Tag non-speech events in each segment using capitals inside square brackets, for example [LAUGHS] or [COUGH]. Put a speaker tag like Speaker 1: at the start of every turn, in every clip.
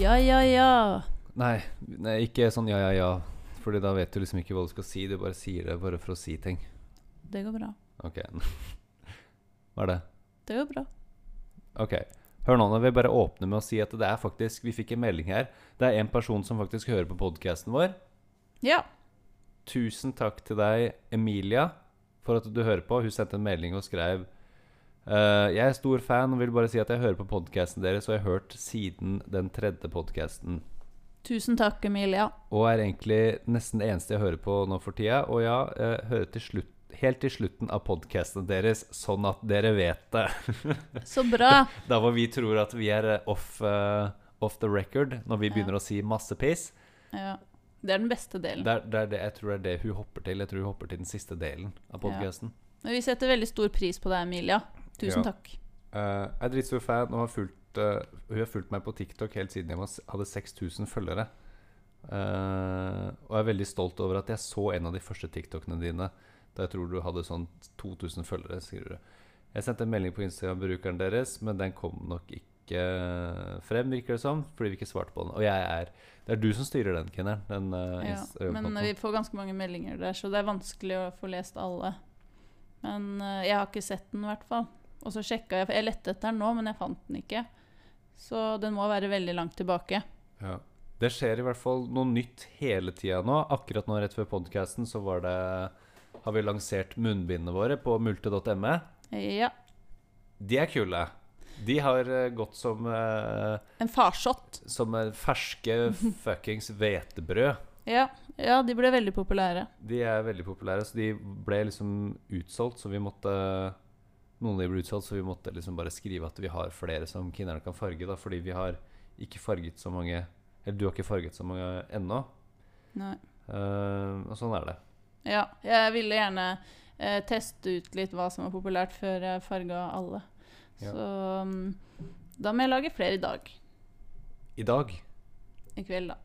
Speaker 1: Ja, ja, ja.
Speaker 2: Nei, nei, ikke sånn ja, ja, ja. Fordi da vet du liksom ikke hva du skal si. Du bare sier det bare for å si ting.
Speaker 1: Det går bra.
Speaker 2: Ok. [LAUGHS] Hva er det?
Speaker 1: Det går bra.
Speaker 2: Ok. Hør nå, nå vil jeg bare åpne med å si at det er faktisk Vi fikk en melding her. Det er en person som faktisk hører på podkasten vår.
Speaker 1: Ja.
Speaker 2: Tusen takk til deg, Emilia, for at du hører på. Hun sendte en melding og skrev «Eh, Jeg er stor fan og vil bare si at jeg hører på podkasten deres, og jeg har hørt siden den tredje podkasten.
Speaker 1: Tusen takk, Emilia.
Speaker 2: Og er egentlig nesten det eneste jeg hører på nå for tida. Og ja, jeg hører til slutt, helt til slutten av podkasten deres, sånn at dere vet det. [LAUGHS]
Speaker 1: Så [LAUGHS] bra.
Speaker 2: Da hvor vi tror at vi er eh, off, eh, off the record når vi begynner å si masse piss.
Speaker 1: Ja. Det er den beste delen.
Speaker 2: Det er, det er det, jeg tror det er det hun hopper til. Jeg tror hun hopper til den siste delen
Speaker 1: Ja.
Speaker 2: av podkasten.
Speaker 1: Men vi setter veldig stor pris på deg, Emilia. Tusen
Speaker 2: Ja.
Speaker 1: takk.
Speaker 2: Eh, jeg er dritstor fan og har fulgt, eh, hun har fulgt meg på TikTok helt siden jeg var, s- hadde 6000 følgere. Eh, og jeg er veldig stolt over at jeg så en av de første TikTokene dine da jeg tror du hadde sånn 2000 følgere. skriver du. Jeg sendte en melding på Instagram-brukeren deres, men den kom nok ikke frem, virker det som, fordi vi ikke svarte på den. Og jeg er Det er du som styrer den, Kenner. Den, eh,
Speaker 1: Ja,
Speaker 2: Inst-
Speaker 1: men
Speaker 2: kontoen.
Speaker 1: vi får ganske mange meldinger der, så det er vanskelig å få lest alle. Men eh, jeg har ikke sett den, i hvert fall. Og så sjekka jeg, for jeg lette etter den nå, men jeg fant den ikke. Så den må være veldig langt tilbake.
Speaker 2: Ja. Det skjer i hvert fall noe nytt hele tida nå. Akkurat nå rett før podkasten så var det har vi lansert munnbindene våre på multe.me.
Speaker 1: Ja.
Speaker 2: E. De er kule. De har eh, gått som, eh,
Speaker 1: En farsott.
Speaker 2: som eh, ferske fuckings hvetebrød.
Speaker 1: Ja. ja, de ble veldig populære.
Speaker 2: De er veldig populære, så de ble liksom utsolgt, så vi måtte Noen av de ble utsolgt, så vi måtte liksom bare skrive at vi har flere som kinnerne kan farge, da, fordi vi har ikke farget så mange Eller du har ikke farget så mange ennå.
Speaker 1: Nei.
Speaker 2: Eh, og sånn er det.
Speaker 1: Ja, jeg ville gjerne eh, teste ut litt hva som var populært før jeg farga alle.
Speaker 2: Ja.
Speaker 1: Så mm, da må jeg lage flere i dag.
Speaker 2: I dag?
Speaker 1: I kveld, da.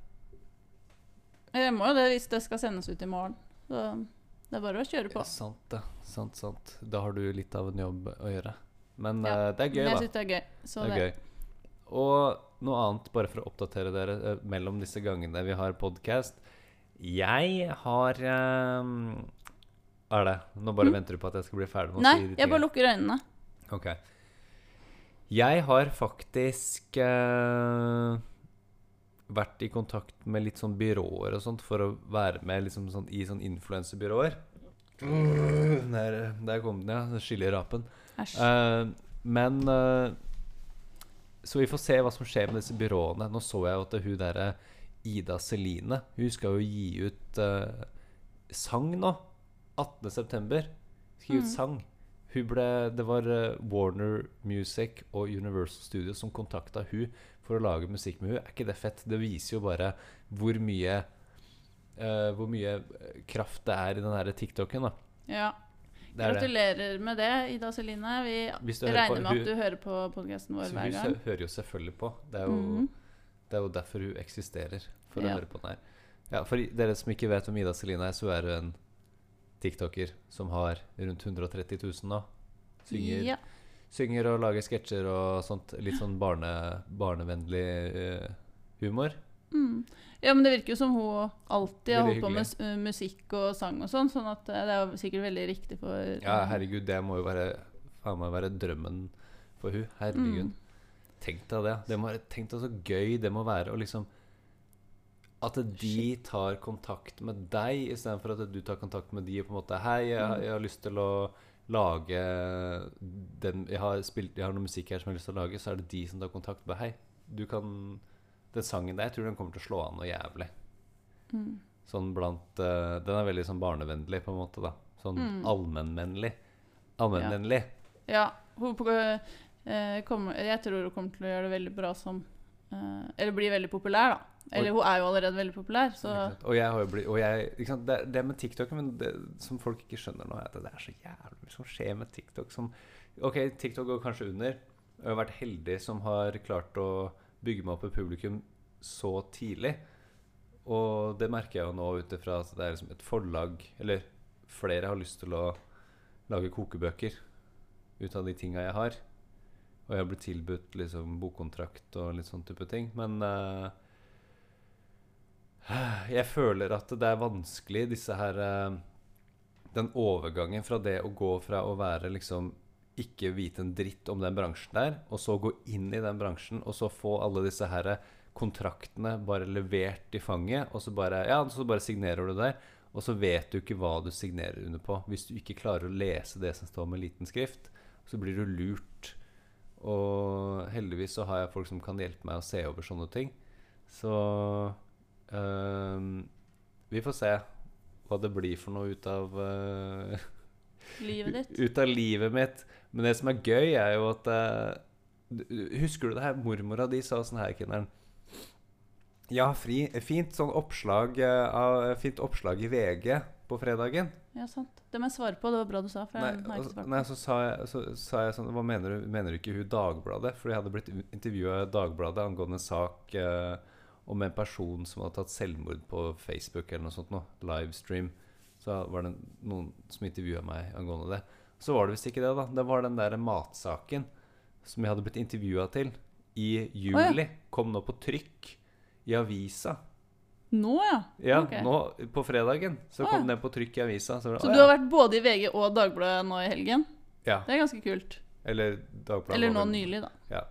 Speaker 1: Jeg må jo det hvis det skal sendes ut i morgen. Så det er bare å kjøre på.
Speaker 2: Sant, det. Sant, sant. Da har du litt av en jobb å gjøre. Men
Speaker 1: Ja,
Speaker 2: eh, det er gøy,
Speaker 1: Men jeg
Speaker 2: da.
Speaker 1: syns det er gøy. Så
Speaker 2: Det
Speaker 1: det
Speaker 2: er gøy. Og noe annet, bare for å oppdatere dere eh, mellom disse gangene vi har podkast. Jeg har eh, Er det? Nå bare venter du på at jeg skal bli ferdig med å
Speaker 1: Mm. Nei,
Speaker 2: si
Speaker 1: jeg
Speaker 2: de
Speaker 1: bare
Speaker 2: tingene.
Speaker 1: lukker øynene.
Speaker 2: Ok. Jeg har faktisk eh, vært i kontakt med litt sånn byråer og sånt for å være med liksom sånn, i sånn influensebyråer. Der, der kom den, ja. Den skyldige rapen.
Speaker 1: Æsj.
Speaker 2: Eh, men eh, Så vi får se hva som skjer med disse byråene. Nå så jeg jo at hun derre Ida Celine Hun skal jo gi ut eh, sang nå. 18.9. Skrive ut
Speaker 1: Mm.
Speaker 2: sang. Hun ble, det var eh, Warner Music og Universal Studios som kontakta hun for å lage musikk med hun. Er ikke det fett? Det viser jo bare hvor mye eh, Hvor mye eh, kraft det er i den her TikToken. da
Speaker 1: Ja.
Speaker 2: det er det.
Speaker 1: Gratulerer med det, Ida Celine. Vi
Speaker 2: Hvis du hører
Speaker 1: regner
Speaker 2: på-
Speaker 1: med
Speaker 2: hun-
Speaker 1: at du hører på podkasten vår
Speaker 2: Så
Speaker 1: hver
Speaker 2: hun
Speaker 1: gang. Mhm.
Speaker 2: hø- hører jo selvfølgelig på. Det er jo, det er jo derfor hun eksisterer, for
Speaker 1: Ja.
Speaker 2: å høre på den her. Ja, for i- dere som ikke vet hvem Ida Celine er, så er hun en tiktoker som har rundt 130 000 nå. Synger,
Speaker 1: Ja.
Speaker 2: synger og lager sketsjer og sånt. Litt sånn barne, barnevennlig eh, humor.
Speaker 1: Mm. Ja, men det virker jo som hun alltid har
Speaker 2: Veldig
Speaker 1: holdt på med
Speaker 2: hyggelig.
Speaker 1: s- musikk og sang og sånn, sånn at eh, det er jo sikkert veldig riktig for
Speaker 2: Ja, herregud, det må jo være, faen meg være drømmen for hun. Herregud.
Speaker 1: Mm.
Speaker 2: Tenk deg det. det må være, tenk deg så gøy det må være å liksom At de tar kontakt med deg istedenfor at du tar kontakt med de og på en måte Hei, jeg, jeg har lyst til å lage den jeg har, spilt, jeg har noe musikk her som jeg har lyst til å lage, så er det de som tar kontakt med Hei, du kan Den sangen der, jeg tror den kommer til å slå an noe jævlig.
Speaker 1: Mm.
Speaker 2: Sånn blant eh, Den er veldig sånn barnevennlig, på en måte. da Sånn allmennvennlig. Allmennvennlig.
Speaker 1: Ja, hun på, eh, kommer, jeg tror hun kommer til å gjøre det veldig bra som eh, Eller bli veldig populær, da. Eller hun er jo allerede veldig populær, så
Speaker 2: Ikke sant? Og jeg har jo blitt og jeg, ikke sant? Det, det med TikTok men det, som folk ikke skjønner nå, er at det er så jævlig mye som skjer med TikTok. Som, ok, TikTok går kanskje under. og Jeg har vært heldig som har klart å bygge meg opp et publikum så tidlig. Og det merker jeg jo nå ut ifra at det er liksom et forlag Eller flere har lyst til å lage kokebøker ut av de tinga jeg har. Og Og jeg har blitt tilbudt liksom bokkontrakt og litt sånn type ting. Men eh, jeg føler at det er vanskelig, disse her eh, Den overgangen fra det å gå fra å være liksom ikke vite en dritt om den bransjen der, og så gå inn i den bransjen, og så få alle disse her eh, kontraktene bare levert i fanget, og så bare, ja, så bare signerer du der. Og så vet du ikke hva du signerer under på. Hvis du ikke klarer å lese det som står med liten skrift, så blir du lurt. Og heldigvis så har jeg folk som kan hjelpe meg å se over sånne ting. Så øhm, Ehm, vi får se hva det blir for noe ut av øh,
Speaker 1: Livet ditt.
Speaker 2: [LAUGHS] ut av livet mitt. Men det som er gøy, er jo at eh, du- du- Husker du det her? Mormora di sa sånn her, Kinneren. Ja, fri, fint sånn oppslag eh, av, Fint oppslag i VG på fredagen.
Speaker 1: Ja, sant. Det må jeg svare på. Det var bra du sa. For
Speaker 2: Nei,
Speaker 1: jeg har ikke
Speaker 2: og,
Speaker 1: svart
Speaker 2: nei
Speaker 1: på.
Speaker 2: så, sa jeg, så sa jeg sånn Hva mener du, mener du ikke hun Dagbladet? For jeg hadde blitt intervjua i Dagbladet angående en sak eh, om en person som hadde tatt selvmord på Facebook eller noe sånt noe. Livestream. Så var det noen som intervjua meg angående det. Så var det visst ikke det, da. Det var den der matsaken som jeg hadde blitt intervjua til i juli.
Speaker 1: Å, ja.
Speaker 2: Kom nå på trykk i avisa.
Speaker 1: Nå, ja.
Speaker 2: Ja,
Speaker 1: Ok.
Speaker 2: nå på fredagen så
Speaker 1: Å,
Speaker 2: kom
Speaker 1: ja.
Speaker 2: den på trykk i avisa. Så, var det,
Speaker 1: Så
Speaker 2: å,
Speaker 1: du
Speaker 2: ja.
Speaker 1: har vært både i VG og Dagbladet nå i helgen?
Speaker 2: ja.
Speaker 1: Det er ganske kult.
Speaker 2: Eller Dagbladet.
Speaker 1: Eller nå
Speaker 2: var vel-
Speaker 1: nylig, da.
Speaker 2: Ja.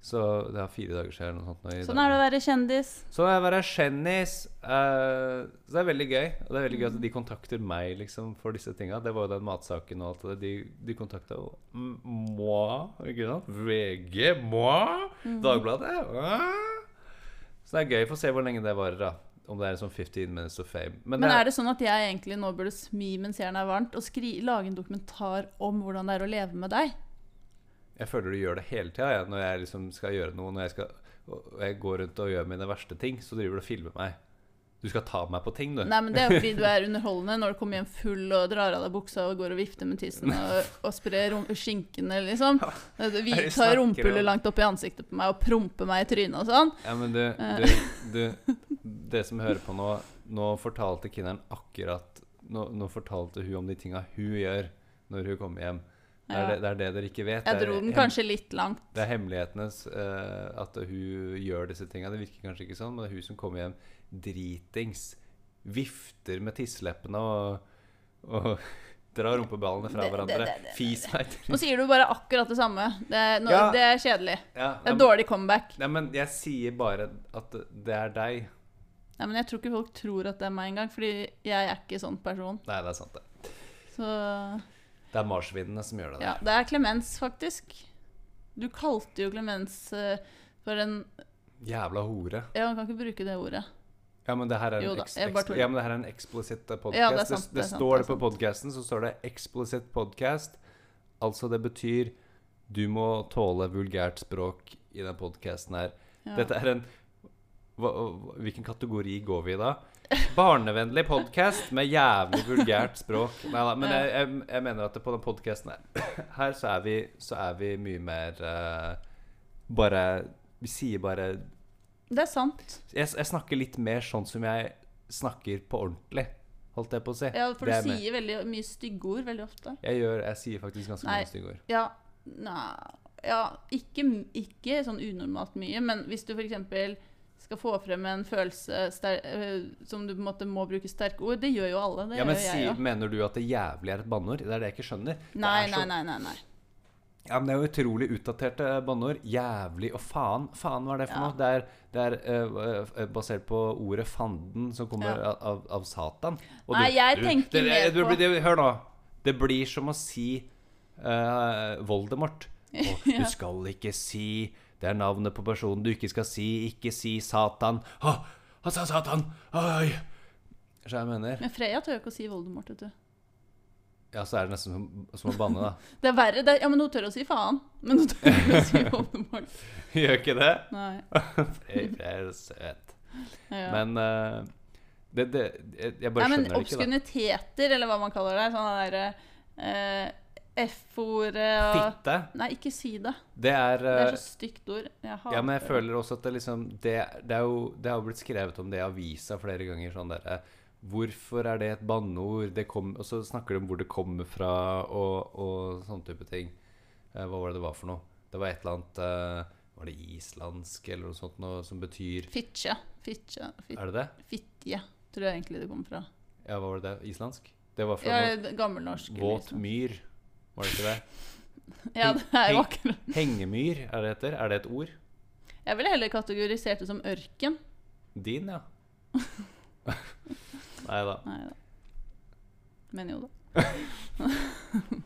Speaker 2: Så det er fire dager siden eller noe sånt. nå i
Speaker 1: Sånn er det å være kjendis.
Speaker 2: Dagbladet. Sånn er det å være kjendis. eh, så det er veldig gøy. Og det er veldig gøy at de kontakter meg liksom, for disse tinga. Det var jo den matsaken og alt det der. De, de kontakta jo m- moi, ikke sant? VG, moi,
Speaker 1: Mhm.
Speaker 2: Dagbladet. ah. Så det er gøy. Få se hvor lenge det varer, da. Om det er sånn 15 minutes of fame. Men,
Speaker 1: Men
Speaker 2: det,
Speaker 1: er det sånn at jeg egentlig nå burde smi mens jernet er varmt, og skri lage en dokumentar om hvordan det er å leve med deg?
Speaker 2: jeg føler du gjør det hele tida jeg, når jeg liksom skal gjøre noe. Når jeg, skal, og og jeg går rundt og gjør mine verste ting, så driver du og filmer meg. Du skal ta meg på ting, du.
Speaker 1: Nei, men Det er jo fordi du er underholdende når du kommer hjem full og drar av deg buksa og går og vifter med tissen og, og sprer rom- skinkene, liksom. Vi
Speaker 2: Nei, vi
Speaker 1: tar
Speaker 2: snakker om-
Speaker 1: rumpehullet langt opp i ansiktet på meg og promper meg i trynet og sånn.
Speaker 2: Ja, men du, du, du Det som hører på nå Nå fortalte Kinneren akkurat nå, nå fortalte hun om de tinga hun gjør når hun kommer hjem. Det er
Speaker 1: Ja.
Speaker 2: det, det, er det dere ikke
Speaker 1: Jeg
Speaker 2: vet. Det er
Speaker 1: dro den
Speaker 2: hem-
Speaker 1: kanskje litt langt.
Speaker 2: Det er hemmelighetenes eh, at hun gjør disse tinga. Det virker kanskje ikke sånn, men det er hun som kommer hjem dritings. Vifter med tisseleppene og, og [LAUGHS] drar rumpeballene fra
Speaker 1: Det- det-
Speaker 2: hverandre.
Speaker 1: det- det-
Speaker 2: Fis meg til
Speaker 1: Nå sier du bare akkurat det samme. Det er, nå,
Speaker 2: Ja.
Speaker 1: det er kjedelig.
Speaker 2: ja,
Speaker 1: Det
Speaker 2: nei,
Speaker 1: er
Speaker 2: men-
Speaker 1: dårlig comeback.
Speaker 2: Nei, men jeg sier bare at det er deg.
Speaker 1: Nei, men Jeg tror ikke folk tror at det er meg engang, fordi jeg er ikke sånn person.
Speaker 2: Nei, det er sant, det.
Speaker 1: Så
Speaker 2: Det er marsvinene som gjør det.
Speaker 1: ja, det er Clemens, faktisk. Du kalte jo Clemens eh, for en
Speaker 2: Jævla hore.
Speaker 1: Ja, man kan ikke bruke det ordet.
Speaker 2: Ja, men det her er
Speaker 1: Jo
Speaker 2: en,
Speaker 1: da,
Speaker 2: eks-
Speaker 1: jeg bare
Speaker 2: eks-
Speaker 1: tuller.
Speaker 2: ja, men det her er en explicit podcast.
Speaker 1: Ja, det er
Speaker 2: det,
Speaker 1: sant,
Speaker 2: det,
Speaker 1: det er sant,
Speaker 2: står
Speaker 1: det
Speaker 2: det
Speaker 1: er
Speaker 2: på podcasten, så står det explicit podcast. Altså, det betyr du må tåle vulgært språk i den podcasten her.
Speaker 1: Ja.
Speaker 2: Dette er en hva, hva- Hvilken kategori går vi i da? Barnevennlig podcast med jævlig vulgært språk. Nei da, men
Speaker 1: Ja.
Speaker 2: jeg, jeg, jeg mener at på den podcasten her, her så, er vi, så er vi mye mer eh, Bare Vi sier bare
Speaker 1: Det er sant.
Speaker 2: jeg, jeg snakker litt mer sånn som jeg snakker på ordentlig, holdt jeg på å si.
Speaker 1: Ja, For
Speaker 2: Det er
Speaker 1: du
Speaker 2: mer-
Speaker 1: sier veldig mye stygge ord veldig ofte.
Speaker 2: jeg, gjør, jeg sier faktisk ganske
Speaker 1: Nei.
Speaker 2: mange stygge ord.
Speaker 1: Ja, nei Ja, ikke, ikke sånn unormalt mye, men hvis du f.eks. skal få frem en følelse ster øh, som du på en måte må bruke sterke ord Det gjør jo alle. Det
Speaker 2: Ja, men
Speaker 1: gjør
Speaker 2: si,
Speaker 1: jeg jo.
Speaker 2: Mener du at det jævlig er et banneord? Det er det jeg ikke skjønner. Det
Speaker 1: Nei,
Speaker 2: er
Speaker 1: nei,
Speaker 2: så-
Speaker 1: nei, nei. nei.
Speaker 2: Ja, men Det er jo utrolig utdaterte eh, banneord. Jævlig og faen. Faen, hva er det for
Speaker 1: Ja.
Speaker 2: noe? Det er, det er eh, eh, basert på ordet fanden, som kommer
Speaker 1: Ja.
Speaker 2: av, av satan.
Speaker 1: Nei, jeg tenker
Speaker 2: det,
Speaker 1: mer
Speaker 2: du-
Speaker 1: på-
Speaker 2: det- Hør nå. Det blir som å si eh,
Speaker 1: [LAUGHS]
Speaker 2: Voldemort. Og,
Speaker 1: Ja.
Speaker 2: Du skal ikke si Det er navnet på personen du ikke skal si. Ikke si Satan. Å, han sa Satan! Oi! Så jeg mener.
Speaker 1: Men Freya tør jo ikke å si Voldemort, vet du.
Speaker 2: Ja, så er det nesten som, som å banne,
Speaker 1: [LAUGHS]
Speaker 2: da.
Speaker 1: Det er verre. Det er, ja, men hun tør å si faen. Men hun tør ikke å si
Speaker 2: [LAUGHS]
Speaker 1: Voldemort.
Speaker 2: Gjør ikke det?
Speaker 1: Nei.
Speaker 2: Jeg er søt.
Speaker 1: Ja.
Speaker 2: Men eh, det, det, jeg- jeg bare
Speaker 1: Nei, men
Speaker 2: skjønner det ikke.
Speaker 1: obskuniteter, eller hva man kaller det. Sånn det derre F-ordet
Speaker 2: da
Speaker 1: og
Speaker 2: Fitte,
Speaker 1: Nei, ikke si det.
Speaker 2: det er,
Speaker 1: Det er
Speaker 2: eh,
Speaker 1: så stygt ord. Jeg hater
Speaker 2: Ja, men jeg
Speaker 1: det.
Speaker 2: føler også at det liksom Det, det er jo det har jo blitt skrevet om det i avisa flere ganger. Sånn der, eh, Hvorfor er det et banneord? Det kom, og så snakker de om hvor det kommer fra, og, og sånne type ting. Eh, Hva var det det var for noe? Det var et eller annet eh, Var det islandsk eller noe sånt noe som betyr
Speaker 1: Fitje. Fitje. Fit-
Speaker 2: Er det det?
Speaker 1: Fitje, tror jeg egentlig det kommer fra.
Speaker 2: Ja, hva var det? det? Islandsk? Det var fra
Speaker 1: Ja,
Speaker 2: noe
Speaker 1: det- Gammelnorsk. eller
Speaker 2: våt
Speaker 1: liksom.
Speaker 2: myr. Var det ikke det?
Speaker 1: Ja, det er jo akkurat
Speaker 2: Hengemyr er det heter. Er det et ord?
Speaker 1: Jeg ville heller kategorisert det som ørken.
Speaker 2: Din, ja. [LAUGHS] Nei da.
Speaker 1: Nei da. Men jo da.
Speaker 2: [LAUGHS]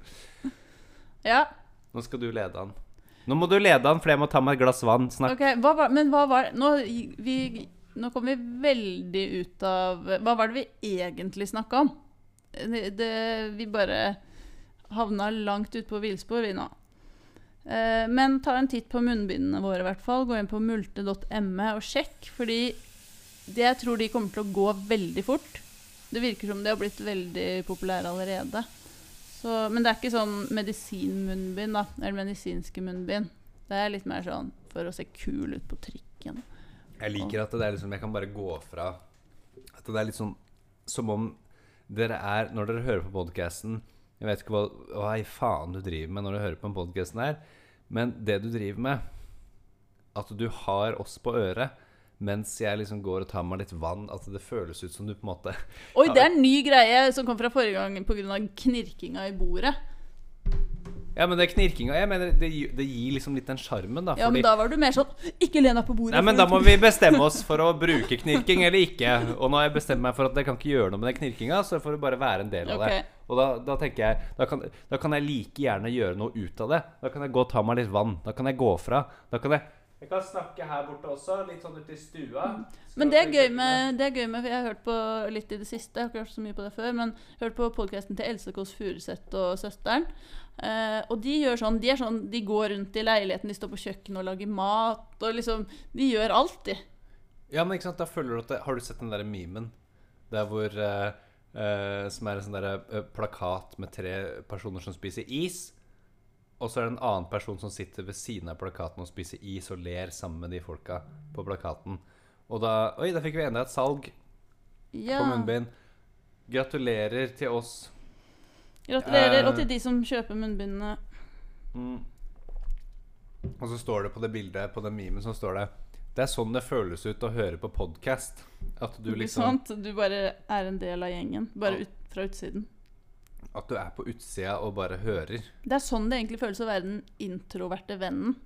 Speaker 1: ja,
Speaker 2: Nå skal du lede han. Nå må du lede han, for jeg må ta meg et glass vann. Snakk.
Speaker 1: ok. Hva var, men hva var Nå, gi- vi, nå kom vi veldig ut av Hva var det vi egentlig snakka om? Det, det, vi bare havna langt ut på villspor, vi nå. Eh, Men ta en titt på munnbindene våre, i hvert fall. Gå inn på multe.me og sjekk, fordi det jeg tror de kommer til å gå veldig fort. Det virker som de har blitt veldig populære allerede. Så, men det er ikke sånn medisinmunnbind, da. Eller medisinske munnbind. Det er litt mer sånn for å se kul ut på trikken.
Speaker 2: Jeg liker at det er liksom Jeg kan bare gå fra At det er litt sånn som om dere er Når dere hører på podkasten Jeg vet ikke hva, hva i faen du driver med når du hører på den podkasten her, men det du driver med At du har oss på øret mens jeg liksom går og tar meg litt vann, at det føles ut som du på en måte
Speaker 1: Oi,
Speaker 2: Ja,
Speaker 1: det er en ny greie som kom fra forrige gang pga. knirkinga i bordet.
Speaker 2: Ja, men det er knirkinga Jeg mener, det, gi- det gir liksom litt den sjarmen, da.
Speaker 1: Ja, men
Speaker 2: fordi-
Speaker 1: da var du mer sånn Ikke len deg på bordet.
Speaker 2: Nei, men
Speaker 1: for
Speaker 2: da
Speaker 1: du-
Speaker 2: må vi bestemme oss for å bruke knirking eller ikke. Og nå har jeg bestemt meg for at jeg kan ikke gjøre noe med den knirkinga, så får det bare være en del av
Speaker 1: Ok.
Speaker 2: det. Og da, da tenker jeg da kan, da kan jeg like gjerne gjøre noe ut av det. Da kan jeg gå og ta meg litt vann. Da kan jeg gå fra. Da kan jeg Jeg kan snakke her borte også, litt sånn ute i stua.
Speaker 1: Men det er gøy med, det er gøy med for Jeg har hørt på litt i det siste, jeg har ikke hørt så mye på det før, men jeg har hørt på podkasten til Else Kåss Furuseth og søsteren. Eh, og de gjør sånn, de er sånn De går rundt i leiligheten, de står på kjøkkenet og lager mat og liksom De gjør alt, de.
Speaker 2: Ja, men ikke sant, da føler du at det, Har du sett den derre memen? Der hvor eh, eh, Som er en sånn derre eh, plakat med tre personer som spiser is. Og så er det en annen person som sitter ved siden av plakaten og spiser is og ler sammen med de folka på plakaten. Og da Oi, da fikk vi enda et salg
Speaker 1: Ja.
Speaker 2: på munnbind. Gratulerer til oss.
Speaker 1: Gratulerer.
Speaker 2: Eh.
Speaker 1: Og til de som kjøper munnbindene.
Speaker 2: Mm. Og så står det på det bildet, på den memen, så står det Det er sånn det føles ut å høre på podkast. At du
Speaker 1: Ikke
Speaker 2: liksom
Speaker 1: sant? Du bare er en del av gjengen.
Speaker 2: Ja.
Speaker 1: Bare ut, fra utsiden.
Speaker 2: At du er på utsida og bare hører.
Speaker 1: Det er sånn det egentlig føles å være den introverte vennen.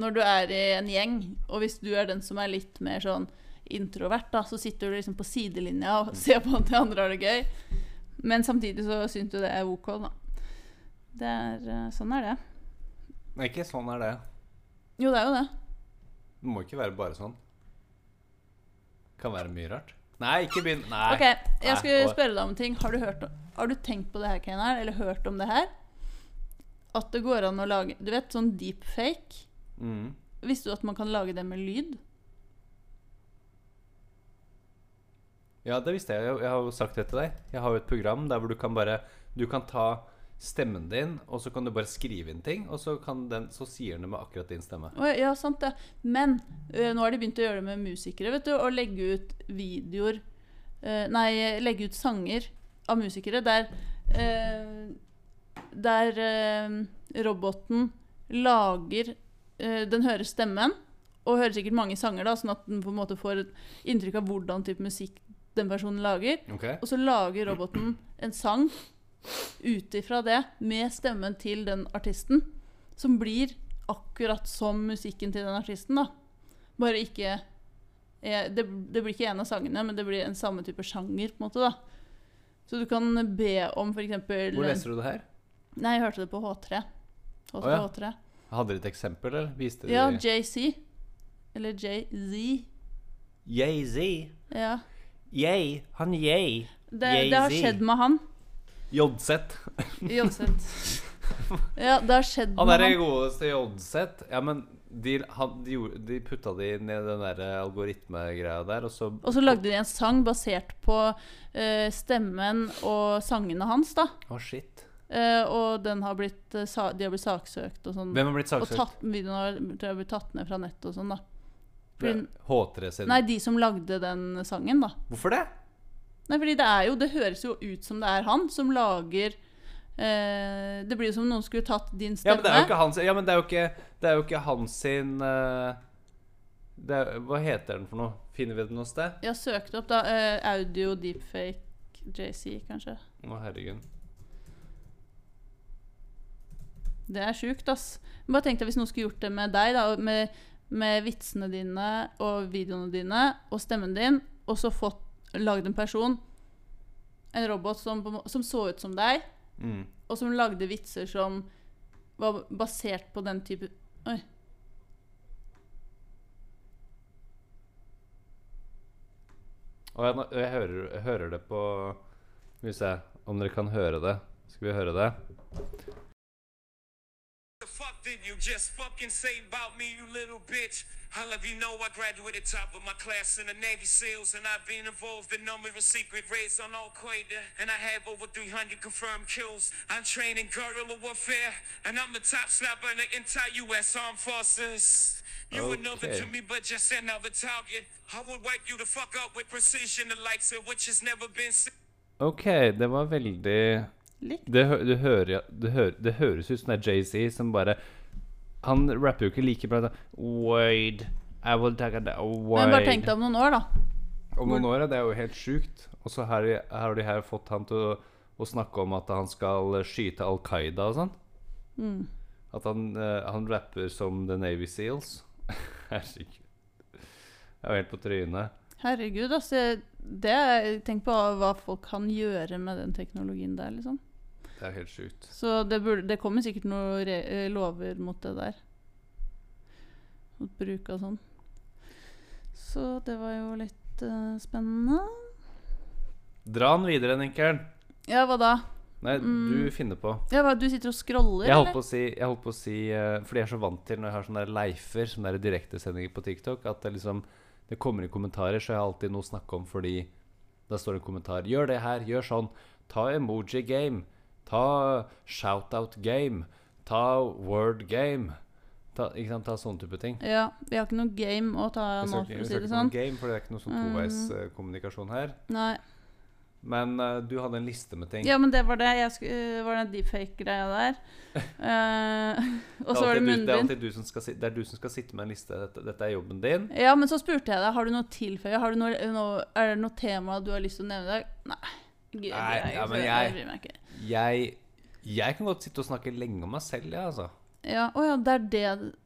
Speaker 1: Når du er i en gjeng, og hvis du er den som er litt mer sånn introvert, da, så sitter du liksom på sidelinja og [LAUGHS] ser på at de andre har det gøy. Men samtidig så syns du det er OK, da. Det er, eh, sånn er det.
Speaker 2: Nei, ikke sånn er det.
Speaker 1: Jo, det er jo det.
Speaker 2: Det må ikke være bare sånn. Kan være mye rart. Nei, ikke begynn. Nei.
Speaker 1: Ok,
Speaker 2: Nei,
Speaker 1: jeg skulle
Speaker 2: og-
Speaker 1: spørre deg om en ting. Har du, hørt, har du tenkt på det her, Keinar? Eller hørt om det her? At det går an å lage Du vet, sånn deepfake?
Speaker 2: Mm.
Speaker 1: Visste du at man kan lage det med lyd?
Speaker 2: Ja, det visste jeg. jo. Jeg har jo sagt det til deg. Jeg har jo et program der hvor du kan bare Du kan ta stemmen din, og så kan du bare skrive inn ting, og så, kan den, så sier den det med akkurat din stemme.
Speaker 1: Å, Ja, sant det. Men ø, nå har de begynt å gjøre det med musikere, vet du. Å legge ut videoer ø, Nei, legge ut sanger av musikere der ø, Der ø, roboten lager ø, Den hører stemmen, og hører sikkert mange sanger, da, sånn at den på en måte får et inntrykk av hvordan type musikk den personen lager.
Speaker 2: Ok?
Speaker 1: Og så lager roboten en sang ut ifra det, med stemmen til den artisten. Som blir akkurat som musikken til den artisten, da. Bare ikke eh, det, det blir ikke en av sangene, men det blir en samme type sjanger, på en måte, da. Så du kan be om f.eks.
Speaker 2: Hvor leser du det her?
Speaker 1: Nei, jeg hørte det på H3. H3,
Speaker 2: Å, ja.
Speaker 1: H3.
Speaker 2: Hadde dere et eksempel, eller viste
Speaker 1: Ja,
Speaker 2: dere
Speaker 1: JC. Eller JZ.
Speaker 2: Jay-Z.
Speaker 1: Ja.
Speaker 2: Yay. Han yay.
Speaker 1: Det, det har
Speaker 2: JZ.
Speaker 1: skjedd med
Speaker 2: [LAUGHS]
Speaker 1: han.
Speaker 2: Jodseth.
Speaker 1: Jonseth. Ja, det har skjedd
Speaker 2: Han
Speaker 1: med
Speaker 2: er det godeste i Oddset. Ja, men de, han, de, gjorde- de putta de ned den der eh, algoritmegreia der, og så
Speaker 1: Og så lagde de en sang basert på eh, stemmen og sangene hans, da.
Speaker 2: Å, shit.
Speaker 1: Eh, og den har blitt, eh, sa, de har blitt saksøkt og sånn.
Speaker 2: Hvem har blitt
Speaker 1: Og
Speaker 2: saksøkt?
Speaker 1: tatt, videoen har tror jeg, blitt tatt ned fra nettet og sånn, da.
Speaker 2: Det- H3 sin.
Speaker 1: Nei, de som lagde den sangen, da.
Speaker 2: Hvorfor det?
Speaker 1: Nei, fordi det er jo Det høres jo ut som det er han som lager eh, eh, Det blir jo som om noen skulle tatt din stemme.
Speaker 2: Ja, men det er jo ikke hans Ja, men det er jo ikke, det er jo ikke hans sin eh, det er, Hva heter den for noe? Finner vi det noe sted?
Speaker 1: Jeg søkte opp da eh, audio deepfake JC, kanskje.
Speaker 2: Å, herregud.
Speaker 1: Det er sjukt, ass. Men bare tenk deg hvis noen skulle gjort det med deg, da, og med, med vitsene dine og videoene dine og stemmen din, og så fått lagd en person, en robot som, på en må- som så ut som deg,
Speaker 2: Mm.
Speaker 1: og som lagde vitser som var basert på den type Oi.
Speaker 2: Og jeg, nå- jeg hører, jeg hører det på Skal vi se om dere kan høre det. Skal vi høre det?
Speaker 3: The fuck did you just fucking say about me, you little bitch? I'll let you know I graduated top of my class in the Navy SEALs, and I've been involved in numerous secret raids on Al Qaeda, and I have over 300 confirmed kills. I'm trained in guerrilla warfare, and I'm the top slapper in the entire U.S. Armed Forces. You another
Speaker 2: Okay.
Speaker 3: to me, but just another target. I would wipe you the fuck up with precision, the likes of which has never been seen.
Speaker 2: OK, det var veldig
Speaker 1: Likt.
Speaker 2: Det, hø- du hører, ja- du hører, det høres ut som det er Jay-Z som bare Han rapper jo ikke like bra. da. Wade, I will take a
Speaker 1: Men bare
Speaker 2: Wade.
Speaker 1: tenk deg om noen år, da.
Speaker 2: Om noen år, ja. Det er jo helt sjukt. Og så her, her har de her fått han til å, å snakke om at han skal skyte Al Qaida og sånn.
Speaker 1: Mm.
Speaker 2: At han, eh, han rapper som The Navy Seals. [LAUGHS] Herregud. Jeg er jo helt på trynet.
Speaker 1: Herregud, ass. jeg- Det, er- tenk på hva folk kan gjøre med den teknologien der, liksom.
Speaker 2: Det er helt sjukt.
Speaker 1: Så det, burde, det kommer sikkert noen re eh, lover mot det der. Mot bruk og sånn. Så det var jo litt eh, spennende.
Speaker 2: Dra han videre, Ninkelen.
Speaker 1: Ja, hva da?
Speaker 2: Nei,
Speaker 1: Mm.
Speaker 2: du finner på.
Speaker 1: Ja, hva, du sitter og scroller,
Speaker 2: Jeg holdt på å si, jeg holdt på å si eh, Fordi jeg er så vant til når jeg har sånne der leifer, sånne der direktesendinger på TikTok, at det liksom Det kommer i kommentarer, så jeg har alltid noe å snakke om fordi da står det en kommentar Gjør det her, gjør sånn. Ta emoji game. Ta shoutout game. Ta word game. Ta, ikke sant, ta sånne type ting.
Speaker 1: Ja, vi har ikke noe game å ta
Speaker 2: Jeg
Speaker 1: nå,
Speaker 2: skal ikke,
Speaker 1: for å
Speaker 2: jeg
Speaker 1: si det
Speaker 2: skal ikke ta noe
Speaker 1: sånn.
Speaker 2: game, for det er ikke noe sånn toveiskommunikasjon her.
Speaker 1: Nei.
Speaker 2: Men eh, du hadde en liste med ting.
Speaker 1: Ja, men det var det. Jeg sku, eh, var den deepfake-greia der.
Speaker 2: [LAUGHS]
Speaker 1: Eh, [LAUGHS] og så var det
Speaker 2: alltid du, det er
Speaker 1: munnbind.
Speaker 2: alltid du som skal, si- det er du som skal sitte med en liste. Dette, dette er jobben din.
Speaker 1: Ja, men så spurte jeg deg har du noe å tilføye. Har du noe, eh, noe, er det noe tema du har lyst til å nevne i dag? Nei. Gud,
Speaker 2: Nei,
Speaker 1: jeg-
Speaker 2: ja, men jeg-
Speaker 1: jeg bryr meg ikke.
Speaker 2: Jeg, jeg kan godt sitte og snakke lenge om meg selv, jeg, altså.
Speaker 1: Ja, å ja, det er det,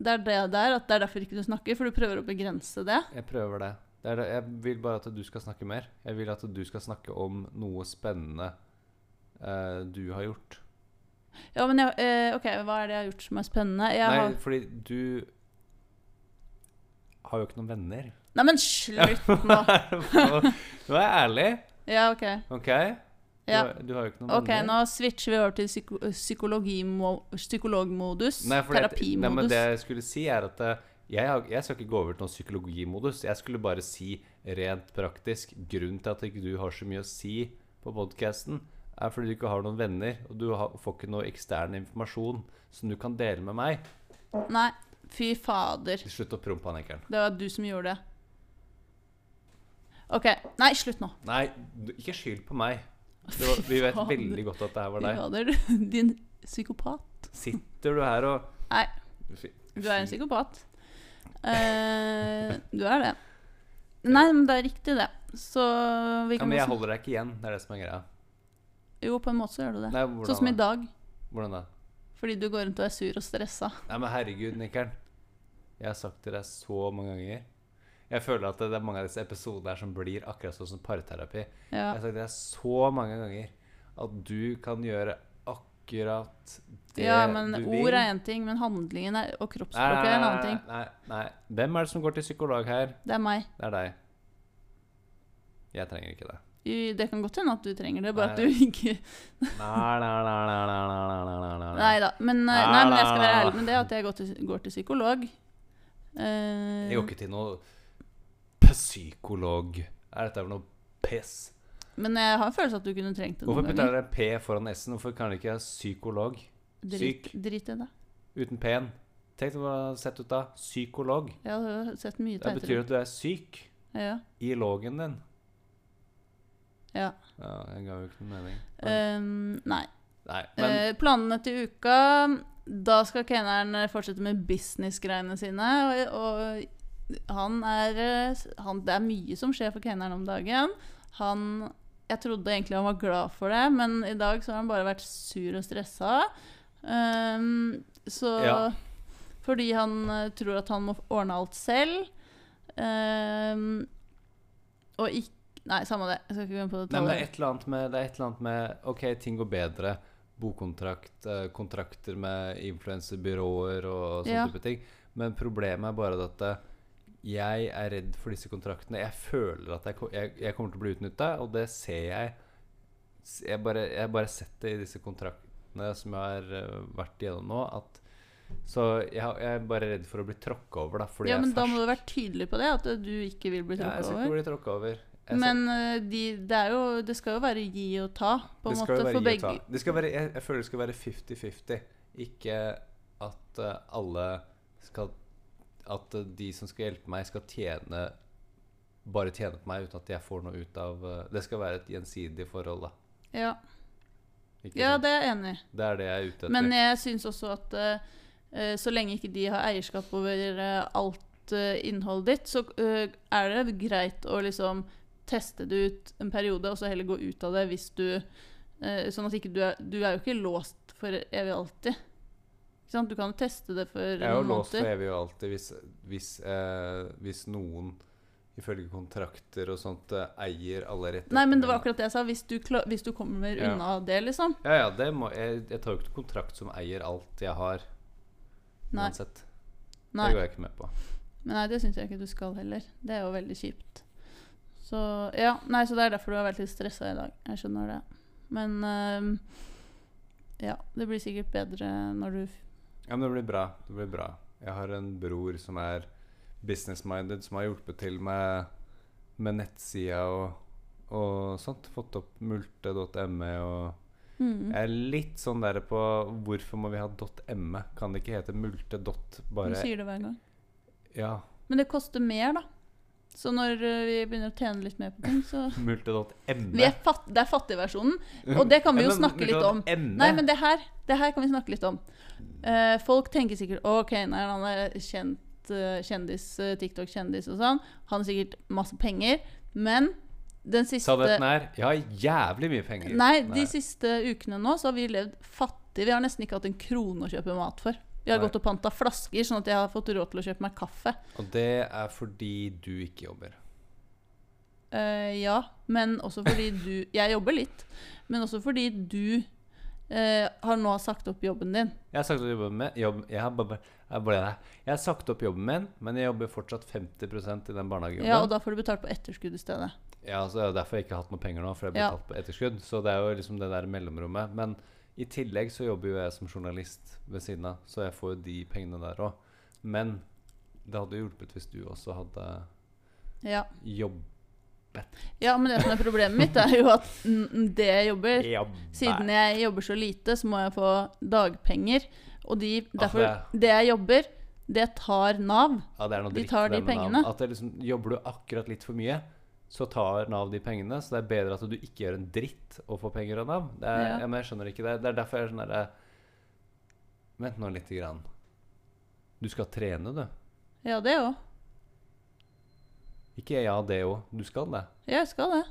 Speaker 1: det er det der, at det er derfor ikke du snakker, for du prøver å begrense det.
Speaker 2: Jeg prøver det. det, er det. Jeg vil bare at du skal snakke mer. Jeg vil at du skal snakke om noe spennende eh, du har gjort.
Speaker 1: Ja, men jeg, eh, ok, hva er det jeg har gjort som er spennende? Jeg
Speaker 2: Nei,
Speaker 1: har,
Speaker 2: fordi du har jo ikke noen
Speaker 1: [LAUGHS]
Speaker 2: venner. [LAUGHS]
Speaker 1: nei, men slutt nå!
Speaker 2: Nå er jeg ærlig,
Speaker 1: Ja, ok.
Speaker 2: OK? Du,
Speaker 1: Ja.
Speaker 2: har- du har jo ikke noen
Speaker 1: Ok,
Speaker 2: venner.
Speaker 1: nå switcher vi over til psyko psykologimo- psykologmodus.
Speaker 2: Nei, fordi at- Nei, men
Speaker 1: terapimodus.
Speaker 2: det jeg skulle si, er at eh, jeg, har, jeg skal ikke gå over til noen psykologimodus. Jeg skulle bare si rent praktisk grunnen til at ikke du har så mye å si på podkasten, er fordi du ikke har noen venner, og du har, får ikke noe ekstern informasjon som du kan dele med meg.
Speaker 1: Nei, fy fader.
Speaker 2: Slutt å prompe, Anniken.
Speaker 1: Det var du som gjorde det. Ok, nei, slutt nå.
Speaker 2: Nei, du- ikke skyld på meg. Det var, vi
Speaker 1: [LAUGHS]
Speaker 2: vet
Speaker 1: Fy faen.
Speaker 2: veldig godt at det her var
Speaker 1: Fy
Speaker 2: deg.
Speaker 1: fader, [LAUGHS] du- din psykopat.
Speaker 2: Sitter du her og
Speaker 1: Nei,
Speaker 2: Fy-
Speaker 1: Du er en
Speaker 2: fy-
Speaker 1: psykopat. Eh, du er det. Nei, men det er riktig, det. Så vi
Speaker 2: Ja,
Speaker 1: kan
Speaker 2: men jeg
Speaker 1: også-
Speaker 2: holder deg ikke igjen. Det er det som er greia.
Speaker 1: Jo, på en måte så gjør du det.
Speaker 2: Nei, hvordan
Speaker 1: sånn som i
Speaker 2: da?
Speaker 1: dag.
Speaker 2: Hvordan da?
Speaker 1: Fordi du går rundt og er sur og stressa.
Speaker 2: Nei, men herregud, Nikkelen. Jeg har sagt til deg så mange ganger. Jeg føler at det er mange av disse episodene her som blir akkurat sånn som parterapi. Jeg
Speaker 1: Ja.
Speaker 2: har sagt til deg så mange ganger at du kan gjøre akkurat det
Speaker 1: ja, men
Speaker 2: du
Speaker 1: ord er én ting, men handlingen er, og
Speaker 2: Nei,
Speaker 1: kroppsspråket er en annen ting.
Speaker 2: Nei, nei, nei. Hvem er det som går til psykolog her?
Speaker 1: Det er meg.
Speaker 2: Det er deg. Jeg trenger ikke det.
Speaker 1: I- Det kan godt hende at du trenger det, bare at
Speaker 2: Nei.
Speaker 1: du ikke
Speaker 2: Nei, nei, nei, nei, nei, nei, nei, nei, nei,
Speaker 1: Nei da. Men, eh,
Speaker 2: Nei,
Speaker 1: nei, men
Speaker 2: nei,
Speaker 1: jeg skal være
Speaker 2: nei,
Speaker 1: ærlig med det, at jeg går til, går til psykolog. Eh,
Speaker 2: Jeg går ikke til noe psykolog. Er dette for noe piss?
Speaker 1: Eh, men jeg har en følelse at du kunne trengt det
Speaker 2: Hvorfor
Speaker 1: noen
Speaker 2: putter
Speaker 1: ganger.
Speaker 2: dere P foran S-en? Hvorfor kan dere ikke ha psykolog
Speaker 1: Drit, drit i det.
Speaker 2: uten P-en? Tenk deg hva det hadde sett ut da. Psykolog.
Speaker 1: Jeg har sett mye
Speaker 2: Det
Speaker 1: teitere.
Speaker 2: betyr at du er syk
Speaker 1: Ja.
Speaker 2: i lågen din.
Speaker 1: Ja.
Speaker 2: Ja, jeg ga jo ikke noe mening.
Speaker 1: Ehm, nei.
Speaker 2: Nei, men
Speaker 1: Eh, planene til uka Da skal keneren fortsette med businessgreiene sine. Og, og han er eh, han, Det er mye som skjer for keneren om dagen. Han Jeg trodde egentlig han var glad for det, men i dag så har han bare vært sur og stressa. Ehm, så
Speaker 2: Ja.
Speaker 1: Fordi han eh, tror at han må ordne alt selv. Ehm, og ikke Nei, samme det. Jeg skal ikke gå inn på
Speaker 2: Nei, men det
Speaker 1: detaljer.
Speaker 2: er et eller annet med, det er et eller annet med OK, ting går bedre. Bokkontrakt, eh, kontrakter med influenserbyråer og sånne
Speaker 1: Ja.
Speaker 2: type ting. Men problemet er bare at eh, jeg er redd for disse kontraktene. Jeg føler at jeg, ko- jeg, jeg kommer til å bli utnytta, og det ser jeg. S- Jeg bare, jeg bare setter i disse kontraktene som jeg har eh, vært igjennom nå, at Så jeg, har- jeg er bare redd for å bli tråkka over, da. Fordi
Speaker 1: Ja, men
Speaker 2: jeg er
Speaker 1: da må
Speaker 2: fersk.
Speaker 1: du være tydelig på det, at du ikke vil bli
Speaker 2: Ja, jeg
Speaker 1: tråkka
Speaker 2: skal
Speaker 1: over.
Speaker 2: ikke bli tråkka over. Jeg skal-
Speaker 1: Men eh, de, det, er jo, det skal jo være gi og ta, på en
Speaker 2: det skal
Speaker 1: måte,
Speaker 2: jo
Speaker 1: for
Speaker 2: være gi og
Speaker 1: begge.
Speaker 2: ta. Det skal være, jeg, jeg føler det skal være 50-50. Ikke at eh, alle skal At eh, de som skal hjelpe meg, skal tjene bare tjene på meg uten at jeg får noe ut av eh, Det skal være et gjensidig forhold, da.
Speaker 1: Ja.
Speaker 2: Ikke
Speaker 1: ja,
Speaker 2: sant?
Speaker 1: det er jeg enig i.
Speaker 2: det er det jeg er ute etter.
Speaker 1: Men jeg syns også at eh, eh, så lenge ikke de har eierskap over eh, alt eh, innholdet ditt, så eh, er det greit å liksom teste det ut en periode, og så heller gå ut av det hvis du eh, Sånn at ikke du er Du er jo ikke låst for evig og alltid. Ikke sant? Du kan jo teste det for
Speaker 2: jeg er jo
Speaker 1: noen
Speaker 2: låst
Speaker 1: måneder.
Speaker 2: for evig og alltid hvis, hvis, eh, hvis noen ifølge kontrakter og sånt eh, eier alle rettighetene
Speaker 1: Nei, men det var
Speaker 2: mine.
Speaker 1: akkurat det jeg sa. Hvis du, kla- hvis du kommer
Speaker 2: Ja.
Speaker 1: unna det, liksom.
Speaker 2: Ja, ja, det må, jeg, jeg tar jo ikke kontrakt som eier alt jeg har.
Speaker 1: Nei.
Speaker 2: Uansett.
Speaker 1: Nei,
Speaker 2: Det går jeg ikke med på.
Speaker 1: men nei det syns jeg ikke du skal heller. Det er jo veldig kjipt. Så ja, nei, så det er derfor du har vært litt stressa i dag. Jeg skjønner det. Men øhm, ja, det blir sikkert bedre når du
Speaker 2: Ja, men det blir bra. Det blir bra. Jeg har en bror som er business-minded, som har hjulpet til med, med nettsida og, og sånt. Fått opp multe.me og
Speaker 1: mm.
Speaker 2: Jeg er litt sånn der på hvorfor må vi ha .me? Kan det ikke hete multe. dot
Speaker 1: Du
Speaker 2: Bare
Speaker 1: sier det hver gang.
Speaker 2: Ja,
Speaker 1: Men det koster mer, da. Så når øh, vi begynner å tjene litt mer på ting, så
Speaker 2: [LAUGHS]
Speaker 1: vi
Speaker 2: multe.me.
Speaker 1: er fatt, Det er fattigversjonen, og det kan vi
Speaker 2: e? Ja,
Speaker 1: jo
Speaker 2: men
Speaker 1: snakke litt om.
Speaker 2: multe.me.
Speaker 1: Nei, men det her, det her kan vi snakke litt om. Eh, folk tenker sikkert OK, nei, han er kjent, eh, kjendis, eh, TikTok-kjendis og sånn. Han har sikkert masse penger. Men den siste
Speaker 2: Sannheten er jeg har jævlig mye penger.
Speaker 1: Nei, de siste ukene nå så har vi levd fattig. Vi har nesten ikke hatt en krone å kjøpe mat for. Vi har
Speaker 2: Nei.
Speaker 1: gått og panta flasker, sånn at jeg har fått råd til å kjøpe meg kaffe.
Speaker 2: Og det er fordi du ikke jobber.
Speaker 1: Eh, ja, men også [LAUGHS] fordi du Jeg jobber litt, men også fordi du eh, har nå sagt opp jobben din.
Speaker 2: Jeg har sagt opp jobben min, jobb, jeg, har bare, jeg, ble der. jeg har sagt opp jobben min, men jeg jobber fortsatt 50 i den barnehagejobben.
Speaker 1: Ja, og da får du betalt på etterskudd i stedet.
Speaker 2: Ja, så det er derfor jeg ikke har hatt noe penger nå, for jeg har
Speaker 1: Ja.
Speaker 2: betalt på etterskudd. Så det er jo liksom det der mellomrommet. Men i tillegg så jobber jo jeg som journalist ved siden av, så jeg får jo de pengene der òg. Men det hadde jo hjulpet hvis du også hadde
Speaker 1: Ja.
Speaker 2: jobb...
Speaker 1: Ja, men det som er problemet mitt, er jo at mm, det jeg jobber
Speaker 2: jobb
Speaker 1: Siden jeg jobber så lite, så må jeg få dagpenger. Og de, derfor
Speaker 2: Ah,
Speaker 1: Det jeg jobber, det tar Nav.
Speaker 2: Ja, det er noe
Speaker 1: De
Speaker 2: dritt
Speaker 1: tar
Speaker 2: det
Speaker 1: de
Speaker 2: med Nav.
Speaker 1: pengene.
Speaker 2: At det liksom, jobber du akkurat litt for mye, så tar Nav de pengene. Så det er bedre at du ikke gjør en dritt og får penger av Nav. Det er,
Speaker 1: Ja.
Speaker 2: ja. men jeg skjønner ikke det. Det er derfor jeg er sånn derre Vent nå lite grann. Du skal trene, du.
Speaker 1: Ja, det òg.
Speaker 2: Ikke ja, det òg. Du skal det.
Speaker 1: Ja, jeg skal det.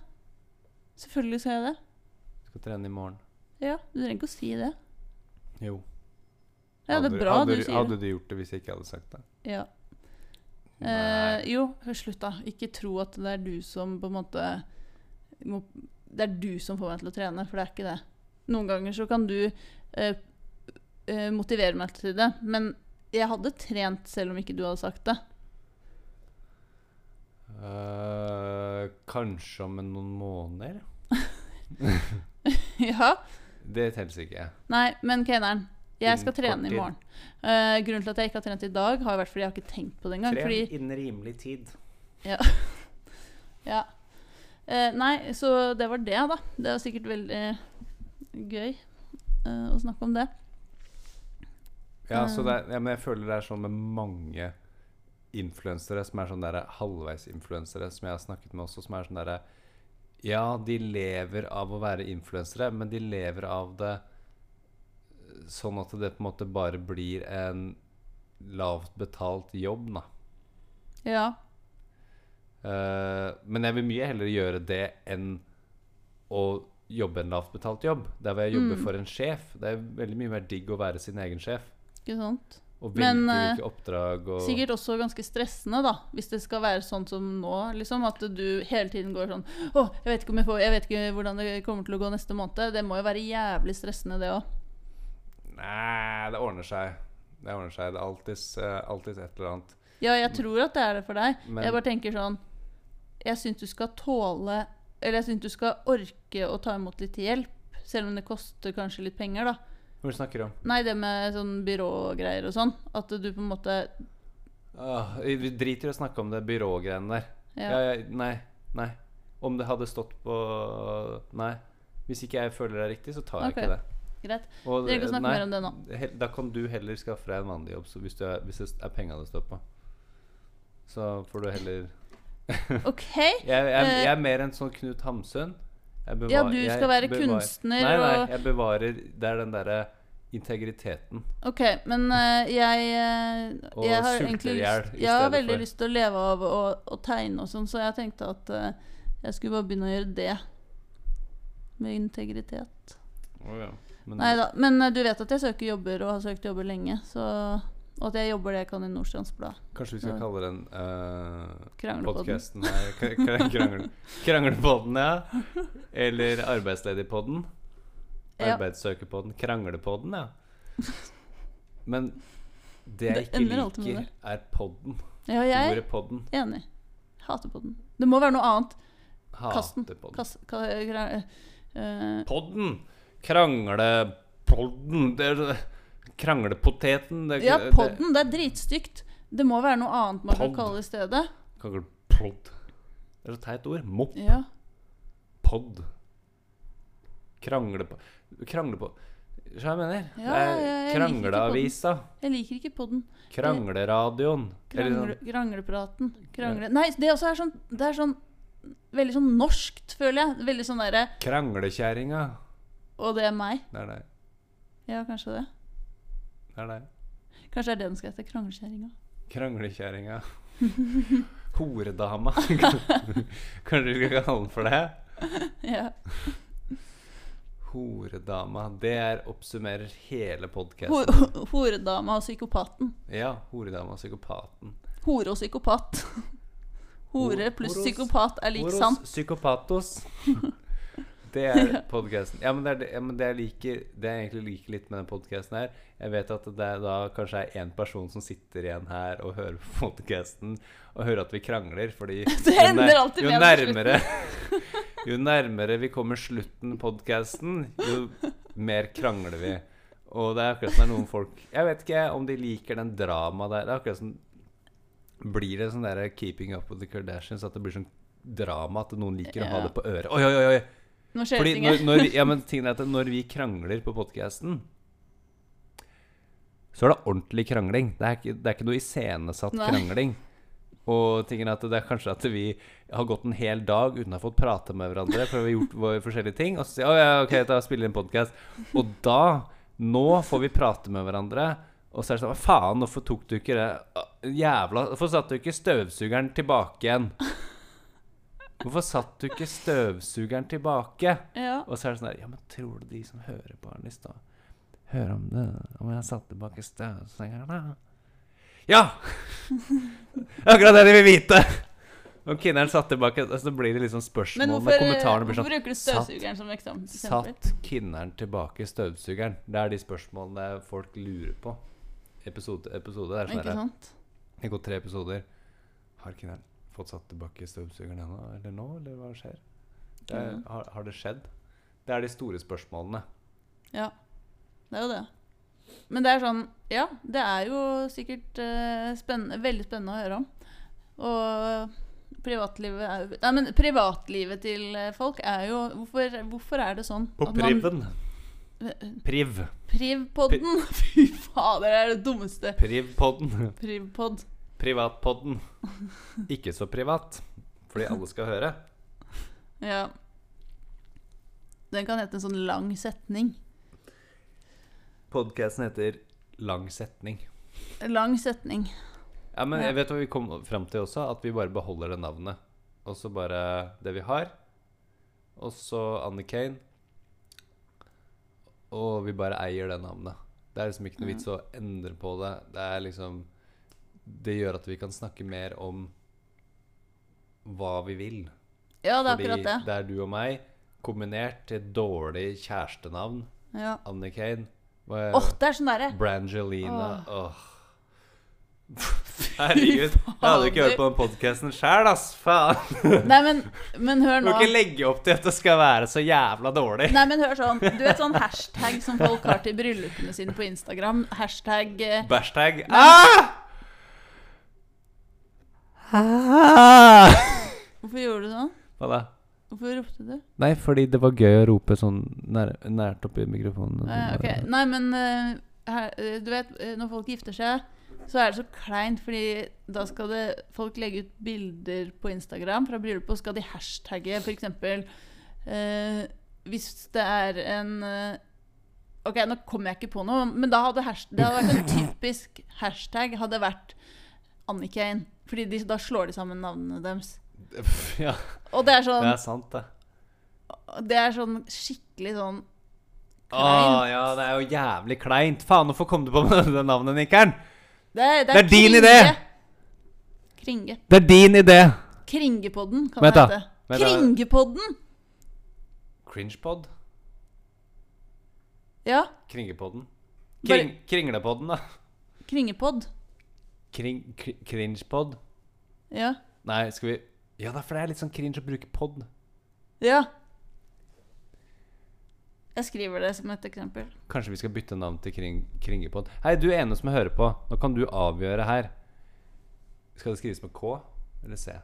Speaker 1: Selvfølgelig skal jeg det.
Speaker 2: Du skal trene i morgen.
Speaker 1: Ja, Du trenger ikke å si det.
Speaker 2: Jo.
Speaker 1: Ja, det er bra
Speaker 2: hadde,
Speaker 1: du sier det.
Speaker 2: Hadde du gjort det hvis jeg ikke hadde sagt det?
Speaker 1: Ja.
Speaker 2: Nei.
Speaker 1: Eh, jo, hør, slutt, da. Ikke tro at det er du som på en måte må, Det er du som får meg til å trene, for det er ikke det. Noen ganger så kan du eh, eh, motivere meg til det, men jeg hadde trent selv om ikke du hadde sagt det. [LAUGHS]
Speaker 2: Eh, kanskje om noen måneder?
Speaker 1: ja.
Speaker 2: Det teller ikke.
Speaker 1: Nei, men keneren. Jeg skal
Speaker 2: Innen kort
Speaker 1: trene i
Speaker 2: tid.
Speaker 1: morgen. Eh, grunnen til at jeg ikke har trent i dag, har vært fordi jeg har ikke tenkt på det engang.
Speaker 2: Tren
Speaker 1: Fordi
Speaker 2: innen rimelig tid.
Speaker 1: [LAUGHS] Ja. Eh, nei, så det var det, da. Det var sikkert veldig gøy eh, å snakke om det.
Speaker 2: Ja, så
Speaker 1: Um.
Speaker 2: det er, ja, men jeg føler det er sånn med mange influensere som er sånn derre halvveis-influensere som jeg har snakket med også, som er sånn derre Ja, de lever av å være influensere, men de lever av det sånn at det på en måte bare blir en lavt betalt jobb, da.
Speaker 1: Ja.
Speaker 2: Eh, men jeg vil mye heller gjøre det enn å jobbe en lavt betalt jobb. Der hvor jeg jobber
Speaker 1: Mm.
Speaker 2: for en sjef. Det er veldig mye mer digg å være sin egen sjef.
Speaker 1: Ikke sant?
Speaker 2: Og velge
Speaker 1: Men, eh,
Speaker 2: hvilke oppdrag og
Speaker 1: Sikkert også ganske stressende, da, hvis det skal være sånn som nå. liksom, At du hele tiden går sånn Å, jeg vet ikke om jeg får Jeg vet ikke hvordan det kommer til å gå neste måned. Det må jo være jævlig stressende, det òg.
Speaker 2: Nei, det ordner seg. Det ordner seg. Det er alltids, eh, alltids et eller annet.
Speaker 1: Ja, jeg tror at det er det for deg.
Speaker 2: Men-
Speaker 1: jeg bare tenker sånn Jeg syns du skal tåle Eller jeg syns du skal orke å ta imot litt hjelp, selv om det koster kanskje litt penger, da.
Speaker 2: Hva er det du snakker om?
Speaker 1: Nei, det med sånn byrågreier og sånn. At du på en måte
Speaker 2: Åh, vi driter Ah, i å snakke om det byrågreiene der.
Speaker 1: Ja.
Speaker 2: Ja, ja, nei, nei. Om det hadde stått på Nei. Hvis ikke jeg føler det er riktig, så tar jeg
Speaker 1: Ok.
Speaker 2: ikke det.
Speaker 1: Greit.
Speaker 2: Og,
Speaker 1: Trenger ikke å snakke
Speaker 2: nei,
Speaker 1: mer om det nå.
Speaker 2: he- Da kan du heller skaffe deg en vanlig jobb så hvis, du er, hvis det er penga det står på. Så får du heller
Speaker 1: OK.
Speaker 2: Jeg, jeg,
Speaker 1: Eh.
Speaker 2: jeg er mer en sånn Knut Hamsun. Jeg bevar-
Speaker 1: Ja, du skal
Speaker 2: jeg
Speaker 1: være kunstner
Speaker 2: Nei, nei,
Speaker 1: og-
Speaker 2: jeg bevarer Det er den derre integriteten.
Speaker 1: Ok, men eh, jeg eh,
Speaker 2: Og
Speaker 1: jeg har
Speaker 2: sulte
Speaker 1: egentlig
Speaker 2: i hjel
Speaker 1: lyst,
Speaker 2: i
Speaker 1: Jeg har
Speaker 2: stedet
Speaker 1: veldig
Speaker 2: for.
Speaker 1: lyst til å leve av å, å tegne og sånn, så jeg tenkte at eh, jeg skulle bare begynne å gjøre det. Med integritet.
Speaker 2: Men,
Speaker 1: Nei da. Men eh, du vet at jeg søker jobber, og har søkt jobber lenge, så Og at jeg jobber det jeg kan i Nordstrands Blad.
Speaker 2: Kanskje vi skal
Speaker 1: Ja.
Speaker 2: kalle den uh,
Speaker 1: Kranglepodden.
Speaker 2: podkasten
Speaker 1: [LAUGHS]
Speaker 2: Kranglepodden, ja. Eller Arbeidsledigpodden.
Speaker 1: Ja.
Speaker 2: Arbeidssøkerpodden. Kranglepodden, ja. Men det jeg
Speaker 1: Det
Speaker 2: ikke
Speaker 1: ender alltid med
Speaker 2: liker,
Speaker 1: det.
Speaker 2: er podden.
Speaker 1: Ja, jeg
Speaker 2: Ordet podden.
Speaker 1: er enig. Hater på den. Det må være noe annet. Kasten.
Speaker 2: Hater podden.
Speaker 1: Kass, ka, kra- eh,
Speaker 2: Podden! Kranglepodden det er, Kranglepoteten det,
Speaker 1: ja,
Speaker 2: det-
Speaker 1: podden. Det er dritstygt. Det må være noe annet man
Speaker 2: Pod.
Speaker 1: kan kalle det i stedet.
Speaker 2: Kranglepod. Det er så teit ord. Mopp.
Speaker 1: Ja.
Speaker 2: Pod. Krangle på Krangle på Hva jeg mener?
Speaker 1: Ja,
Speaker 2: det
Speaker 1: ja, jeg
Speaker 2: er
Speaker 1: liker
Speaker 2: krangleavisa.
Speaker 1: Jeg liker ikke podden.
Speaker 2: Krangleradioen. Eller
Speaker 1: Krangle,
Speaker 2: sånn
Speaker 1: kranglepraten. Krangle. Nei, det også er sånn Det er sånn Veldig sånn norskt, føler jeg. Veldig sånn derre
Speaker 2: Kranglekjerringa.
Speaker 1: Og det er meg.
Speaker 2: Det er deg.
Speaker 1: Ja, kanskje det.
Speaker 2: Det er deg.
Speaker 1: Kanskje det er det den skal hete. Kranglekjerringa. [LAUGHS]
Speaker 2: Kranglekjerringa. Horedama. Kanskje vi skal kalle den for det?
Speaker 1: Ja.
Speaker 2: Horedama. Det er oppsummerer hele
Speaker 1: Ho-
Speaker 2: podkasten.
Speaker 1: ho- Horedama og psykopaten.
Speaker 2: Ja. Horedama, psykopaten.
Speaker 1: Hore og psykopat. [LAUGHS] Hore pluss
Speaker 2: Horos-
Speaker 1: psykopat er lik
Speaker 2: Horos
Speaker 1: sant. [LAUGHS]
Speaker 2: Psykopatos. Det er podkasten. Ja, men det er det, ja, men det jeg liker Det jeg egentlig liker litt med den podkasten her Jeg vet at det er da kanskje er én person som sitter igjen her og hører på podkasten og hører at vi krangler, fordi
Speaker 1: [LAUGHS] Det
Speaker 2: jo nær-
Speaker 1: ender alltid
Speaker 2: jo
Speaker 1: med at det er
Speaker 2: nærmere, jo nærmere [LAUGHS] vi kommer slutten podkasten, jo mer krangler vi. Og det er akkurat som det er noen folk Jeg vet ikke om de liker den drama der. Det er akkurat som blir det sånn der 'keeping up with the Kardashians', at det blir sånn drama at noen liker å ha
Speaker 1: Ja.
Speaker 2: det på øret. Oi, oi, oi! oi.
Speaker 1: Nå skjer det
Speaker 2: Fordi
Speaker 1: ting
Speaker 2: når,
Speaker 1: her.
Speaker 2: når, vi- ja, men tingen er at når vi krangler på podkasten, så er det ordentlig krangling. Det er ikke, det er ikke noe iscenesatt
Speaker 1: Nei.
Speaker 2: krangling. Og tingen er at det er kanskje at vi har gått en hel dag uten å ha fått prate med hverandre, for vi har gjort våre forskjellige ting, og så sier vi ja, ok, da spiller vi inn podkast. Og da, nå får vi prate med hverandre, og så er det sånn Hva faen, hvorfor tok du ikke det Jævla Hvorfor satt du ikke støvsugeren tilbake [LAUGHS] igjen? Hvorfor satt du ikke støvsugeren tilbake?
Speaker 1: Ja.
Speaker 2: Og så er det sånn der Ja, men tror du de som hører på den i stad, hører om det? Om jeg satt tilbake støvsugeren, da?
Speaker 1: [LAUGHS]
Speaker 2: Ja! Det er Akkurat det de vil vite! Om kinneren satt tilbake Så blir det liksom spørsmål
Speaker 1: Men
Speaker 2: med
Speaker 1: hvorfor, eh,
Speaker 2: kommentarene blir
Speaker 1: hvorfor
Speaker 2: sånn
Speaker 1: bruker du
Speaker 2: satt-
Speaker 1: støvsugeren som eksempel?
Speaker 2: Satt kinneren tilbake støvsugeren? Det er de spørsmålene folk lurer på. Episode til episode. Det er sånn
Speaker 1: Ikke
Speaker 2: der,
Speaker 1: sant?
Speaker 2: det går tre episoder. Har kinneren fått satt tilbake støvsugeren ennå? Eller nå? Eller hva skjer? Det er,
Speaker 1: Ja.
Speaker 2: har, har det skjedd? Det er de store spørsmålene.
Speaker 1: Ja, det er jo det. Men det er sånn Ja, det er jo sikkert eh, spennende, veldig spennende å høre om. Og privatlivet er jo Nei, men privatlivet til eh, folk er jo Hvorfor, hvorfor er det sånn at man-
Speaker 2: Priv.
Speaker 1: Privpodden! [LAUGHS] Fy fader, det er det dummeste.
Speaker 2: Privpodden.
Speaker 1: Privpod.
Speaker 2: Privatpodden. Ikke så privat, fordi alle skal høre.
Speaker 1: Ja. Den kan hete en sånn lang setning.
Speaker 2: Podkasten heter Lang setning.
Speaker 1: Lang setning.
Speaker 2: Ja, men
Speaker 1: Ja.
Speaker 2: jeg vet hva vi kom fram til også, at vi bare beholder det navnet. Og så bare det vi har. Og så Anne Kane. Og vi bare eier det navnet. Det er liksom ikke noe vits å endre på det. Det er liksom Det gjør at vi kan snakke mer om hva vi vil.
Speaker 1: Ja, det er
Speaker 2: Fordi
Speaker 1: akkurat det.
Speaker 2: det er du og meg kombinert til et dårlig kjærestenavn.
Speaker 1: Ja.
Speaker 2: Anne Kane. Hva
Speaker 1: Åh, det er sånn derre
Speaker 2: [LAUGHS] Brangelina.
Speaker 1: [LAUGHS]
Speaker 2: Åh. Herregud. Jeg hadde ikke hørt på den podkasten sjæl, ass. Faen.
Speaker 1: Nei, men, men hør
Speaker 2: Du
Speaker 1: nå.
Speaker 2: må ikke legge opp til at det skal være så jævla
Speaker 1: [LAUGHS]
Speaker 2: dårlig.
Speaker 1: Nei, men hør sånn. Du vet sånn hashtag som folk har til bryllupene sine på Instagram? Hashtag eh,
Speaker 2: Bæshtag. Ah! Ah!
Speaker 1: Hvorfor gjorde du sånn?
Speaker 2: Hva da?
Speaker 1: Hvorfor ropte du?
Speaker 2: Nei, fordi det var gøy å rope sånn nær, nært oppi mikrofonen.
Speaker 1: Eh, ok. Nei, men eh, her, eh, du vet, eh, når folk gifter seg, så er det så kleint, fordi da skal det, folk legge ut bilder på Instagram fra bryllupet, og skal de hashtagge f.eks. Uh, hvis det er en eh, Ok, nå kommer jeg ikke på noe, men da hadde hasht- det hadde vært en typisk hashtag hadde vært Annikane. Fordi de, da slår de sammen navnene deres.
Speaker 2: Ja,
Speaker 1: Og det er sånn,
Speaker 2: det er sant, det.
Speaker 1: det er sånn skikkelig sånn
Speaker 2: Åh, ja, det er jo jævlig kleint. Faen, hvorfor kom du på [LAUGHS] det navnet, Nikkeren?
Speaker 1: Det er,
Speaker 2: Det er din
Speaker 1: kringe.
Speaker 2: idé!
Speaker 1: Kringe.
Speaker 2: Det er din idé.
Speaker 1: Kringepodden kan
Speaker 2: Vent
Speaker 1: det
Speaker 2: da,
Speaker 1: hete.
Speaker 2: vent da.
Speaker 1: Kringepodden!
Speaker 2: Cringepod?
Speaker 1: Ja,
Speaker 2: Kringepodden?
Speaker 1: Bare-
Speaker 2: Kring, kringlepodden, da.
Speaker 1: kringepodd.
Speaker 2: Kring, kri- cringepod?
Speaker 1: Ja.
Speaker 2: Nei, skal vi Ja, da, for det er litt sånn cringe å bruke pod.
Speaker 1: ja. Jeg skriver det som et eksempel.
Speaker 2: Kanskje vi skal bytte navn til kring, kringepod. Hei, du ene som hører på. Nå kan du avgjøre her. Skal det skrives med K eller C?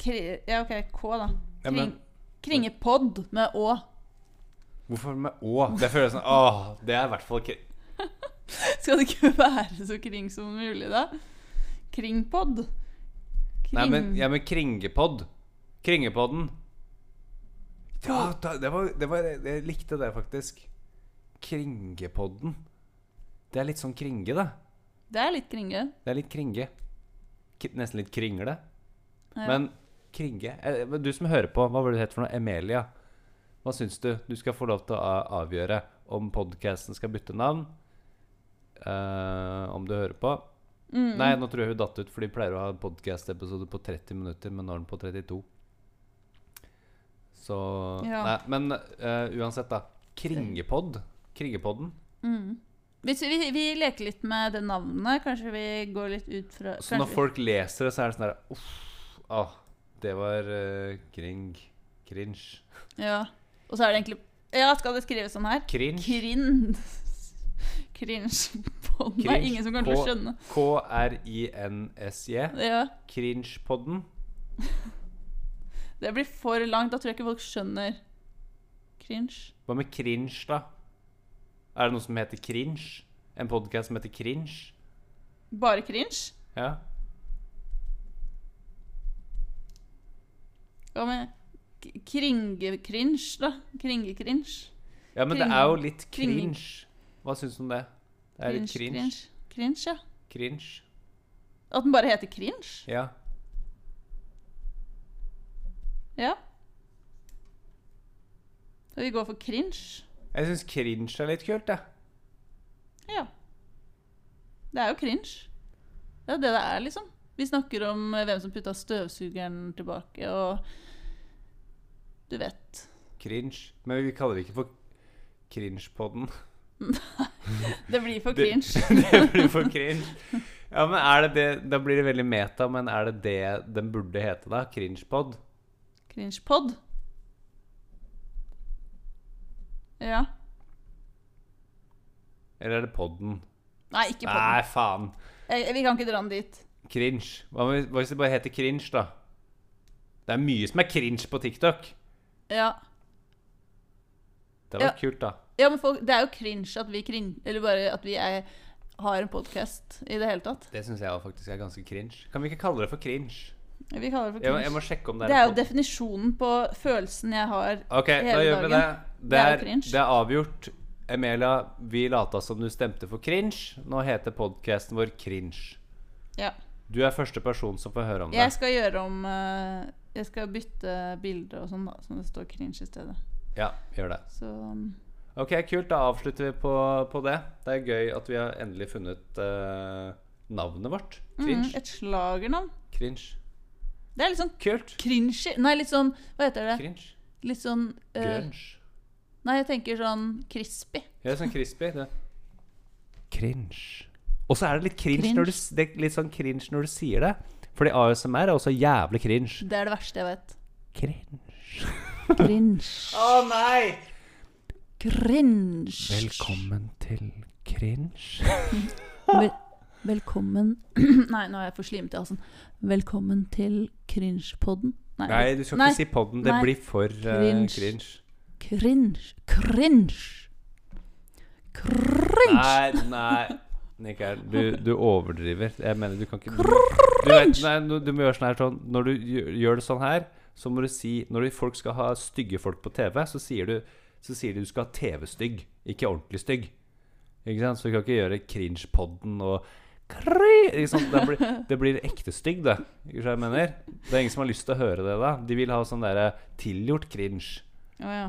Speaker 1: Kri ja, OK, K, da.
Speaker 2: Ja,
Speaker 1: Kring
Speaker 2: men-
Speaker 1: kringepodd med Å. [LAUGHS]
Speaker 2: Hvorfor med Å? Det føles sånn Åh, det er i hvert fall kri-
Speaker 1: Skal det ikke være så kring som mulig, da? Kringpodd. Kring...
Speaker 2: Nei, men,
Speaker 1: Mm.
Speaker 2: ja, men kringepod. Kringepodden. Ja, da, Ah, det var, det var Jeg likte det, faktisk. Kringepodden. Det er litt sånn kringe, da.
Speaker 1: Det er litt kringe.
Speaker 2: Det er litt kringe. K nesten litt kringle. Men kringe eh, men Du som hører på, hva var det du het for noe? Emelia. Hva syns du? Du skal få lov til å a- avgjøre om podkasten skal bytte navn. eh, om du hører på.
Speaker 1: Mm.
Speaker 2: Nei, nå tror jeg hun datt ut, for de pleier å ha podkastepisode på 30 minutter, men nå er den på 32. Så
Speaker 1: Ja.
Speaker 2: Nei, men eh, uansett, da. Kringepod. Kringepodden.
Speaker 1: Mm. Hvis vi, vi leker litt med det navnet, kanskje vi går litt ut fra
Speaker 2: Så når
Speaker 1: kanskje-
Speaker 2: folk leser det, så er det sånn der Uff. Ah, det var eh, kring. Cringe.
Speaker 1: Ja. Og så er det egentlig Ja, skal det skrives sånn her?
Speaker 2: Cringe.
Speaker 1: Krin... Cringe-podden. Det er
Speaker 2: Cringe.
Speaker 1: ingen som kommer til å
Speaker 2: K-
Speaker 1: skjønne.
Speaker 2: K-r-i-n-s-j.
Speaker 1: Ja,
Speaker 2: Cringepodden.
Speaker 1: det blir for langt. Da tror jeg ikke folk skjønner. Cringe.
Speaker 2: Hva med cringe, da? Er det noe som heter cringe? En podkast som heter cringe?
Speaker 1: Bare cringe?
Speaker 2: Ja.
Speaker 1: Hva med k- kringe-cringe, da? Kringe-cringe?
Speaker 2: ja, men det
Speaker 1: Kring-
Speaker 2: er jo litt
Speaker 1: kringing.
Speaker 2: cringe. Hva syns du om det? Det er litt cringe.
Speaker 1: Cringe, cringe, ja.
Speaker 2: Cringe.
Speaker 1: At den bare heter cringe?
Speaker 2: Ja.
Speaker 1: Ja. Så vi går for cringe?
Speaker 2: Jeg syns cringe er litt kult, jeg.
Speaker 1: Ja. Det er jo cringe. Det er jo det det er, liksom. Vi snakker om eh, hvem som putta støvsugeren tilbake, og Du vet.
Speaker 2: Cringe. Men vi kaller det ikke for cringepodden. [LAUGHS]
Speaker 1: Det blir for
Speaker 2: Det-
Speaker 1: cringe.
Speaker 2: [LAUGHS] det blir for cringe. Ja, men er det det Da blir det veldig meta, men er det det den burde hete, da? Cringepod?
Speaker 1: Cringepod. Ja.
Speaker 2: Eller er det podden?
Speaker 1: Nei, ikke podden.
Speaker 2: Nei, faen.
Speaker 1: Eh, Vi kan ikke dra den dit.
Speaker 2: Cringe. Hva med- hva hvis det bare heter cringe, da? Det er mye som er cringe på TikTok.
Speaker 1: Ja.
Speaker 2: Det var
Speaker 1: Ja.
Speaker 2: kult, da.
Speaker 1: ja, men folk, det er jo cringe at vi kring... Eller bare at vi er, har en podkast i det hele tatt.
Speaker 2: Det syns jeg også faktisk er ganske cringe. Kan vi ikke kalle det for cringe?
Speaker 1: Vi kaller det for
Speaker 2: Jeg, må-
Speaker 1: cringe.
Speaker 2: jeg må sjekke om det er
Speaker 1: det er
Speaker 2: en
Speaker 1: jo
Speaker 2: pod-
Speaker 1: definisjonen på følelsen jeg har
Speaker 2: Ok, da
Speaker 1: hele
Speaker 2: gjør vi
Speaker 1: dagen.
Speaker 2: det. Det
Speaker 1: er jo
Speaker 2: er,
Speaker 1: cringe.
Speaker 2: det er avgjort. Emilia, vi lata som du stemte for cringe. Nå heter podkasten vår Cringe.
Speaker 1: Ja.
Speaker 2: Du er første person som får høre om det.
Speaker 1: Jeg skal gjøre om eh, Jeg skal bytte bilder og sånn, da, så det står cringe i stedet.
Speaker 2: Ja, gjør det.
Speaker 1: Så mm,
Speaker 2: Ok, kult. Da avslutter vi på, på det. Det er gøy at vi har endelig funnet eh, navnet vårt. Cringe.
Speaker 1: mm, Et slagernavn.
Speaker 2: Cringe.
Speaker 1: Det er litt sånn
Speaker 2: Kult.
Speaker 1: cringy Nei, litt sånn Hva heter det?
Speaker 2: Cringe.
Speaker 1: Litt sånn eh,
Speaker 2: Grunge.
Speaker 1: Nei, jeg tenker sånn crispy.
Speaker 2: Ja, sånn crispy. Det. Cringe. Og så er det litt cringe,
Speaker 1: Cringe.
Speaker 2: Når du, s- det er litt sånn cringe når du sier det. Fordi ASMR er også jævlig cringe.
Speaker 1: Det er det verste jeg vet.
Speaker 2: Cringe.
Speaker 1: Cringe.
Speaker 2: Å nei!
Speaker 1: Cringe.
Speaker 2: Velkommen til cringe.
Speaker 1: Vel velkommen [CLEARS THROAT] Nei, nå er jeg for slimete i halsen. Velkommen til cringe-podden.
Speaker 2: Nei, du skal
Speaker 1: nei,
Speaker 2: ikke si podden. Det
Speaker 1: nei.
Speaker 2: blir for eh,
Speaker 1: Cringe.
Speaker 2: cringe.
Speaker 1: Cringe. Cringe. Cringe.
Speaker 2: Nei, nei. Nikkel, du, du overdriver. Jeg mener, du kan ikke du, vet, nei, du, du må gjøre sånn her sånn Når du gjør, gjør det sånn her, så må du si Når folk skal ha stygge folk på TV, så sier du Så sier de du skal ha TV-stygg, ikke ordentlig stygg. Ikke sant? Så du kan ikke gjøre cringe-podden og kri- ikke sant? det, blir, det blir ekte stygg, det. Ikke sant hva jeg mener? Det er ingen som har lyst til å høre det da. De vil ha sånn derre tilgjort cringe.
Speaker 1: Å ja.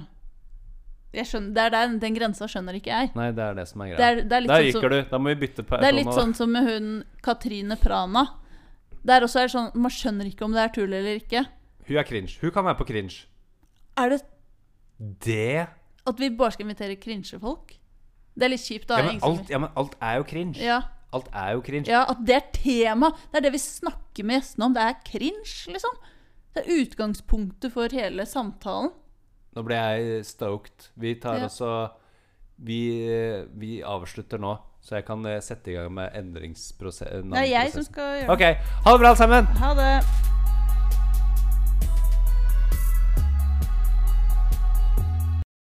Speaker 1: Jeg skjønner, det er der, den grensa skjønner ikke jeg.
Speaker 2: Nei, det er det som er
Speaker 1: Det
Speaker 2: greia.
Speaker 1: er, det er litt
Speaker 2: Der
Speaker 1: sånn
Speaker 2: gikk
Speaker 1: som-
Speaker 2: du. Da må vi bytte på
Speaker 1: Det er litt sånn som med hun Katrine Prana. Der også er det sånn, Man skjønner ikke om det er tull eller ikke.
Speaker 2: Hun er cringe. Hun kan være på cringe.
Speaker 1: Er det
Speaker 2: Det ja,
Speaker 1: at vi bare skal invitere cringe-folk? Det er litt kjipt. da.
Speaker 2: men
Speaker 1: ingen som-
Speaker 2: alt, ja, men alt er jo cringe.
Speaker 1: ja,
Speaker 2: Alt er jo cringe.
Speaker 1: ja, At det er tema. Det er det vi snakker med gjestene om. Det er cringe, liksom. Det er utgangspunktet for hele samtalen.
Speaker 2: Nå ble jeg stoked. Vi tar
Speaker 1: Ja.
Speaker 2: også vi, vi avslutter nå, så jeg kan eh, sette i gang med endringsprosessen.
Speaker 1: Det er jeg som skal gjøre det.
Speaker 2: OK. Ha det bra, alle sammen!
Speaker 1: Ha det.